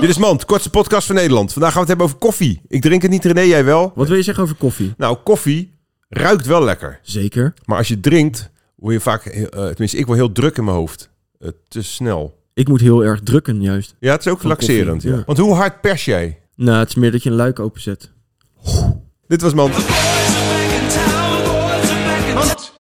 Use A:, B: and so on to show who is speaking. A: Dit is Mand, kortste podcast van Nederland. Vandaag gaan we het hebben over koffie. Ik drink het niet, René, jij wel.
B: Wat wil je zeggen over koffie?
A: Nou, koffie ruikt wel lekker.
B: Zeker.
A: Maar als je drinkt, word je vaak... eh, tenminste, ik word heel druk in mijn hoofd. Eh, te snel.
B: Ik moet heel erg drukken juist.
A: Ja, het is ook
B: Van
A: laxerend.
B: koffie,
A: Ja.
B: ja.
A: Want hoe hard pers jij?
B: Nou, het is meer dat je een luik openzet.
A: Dit was Mand.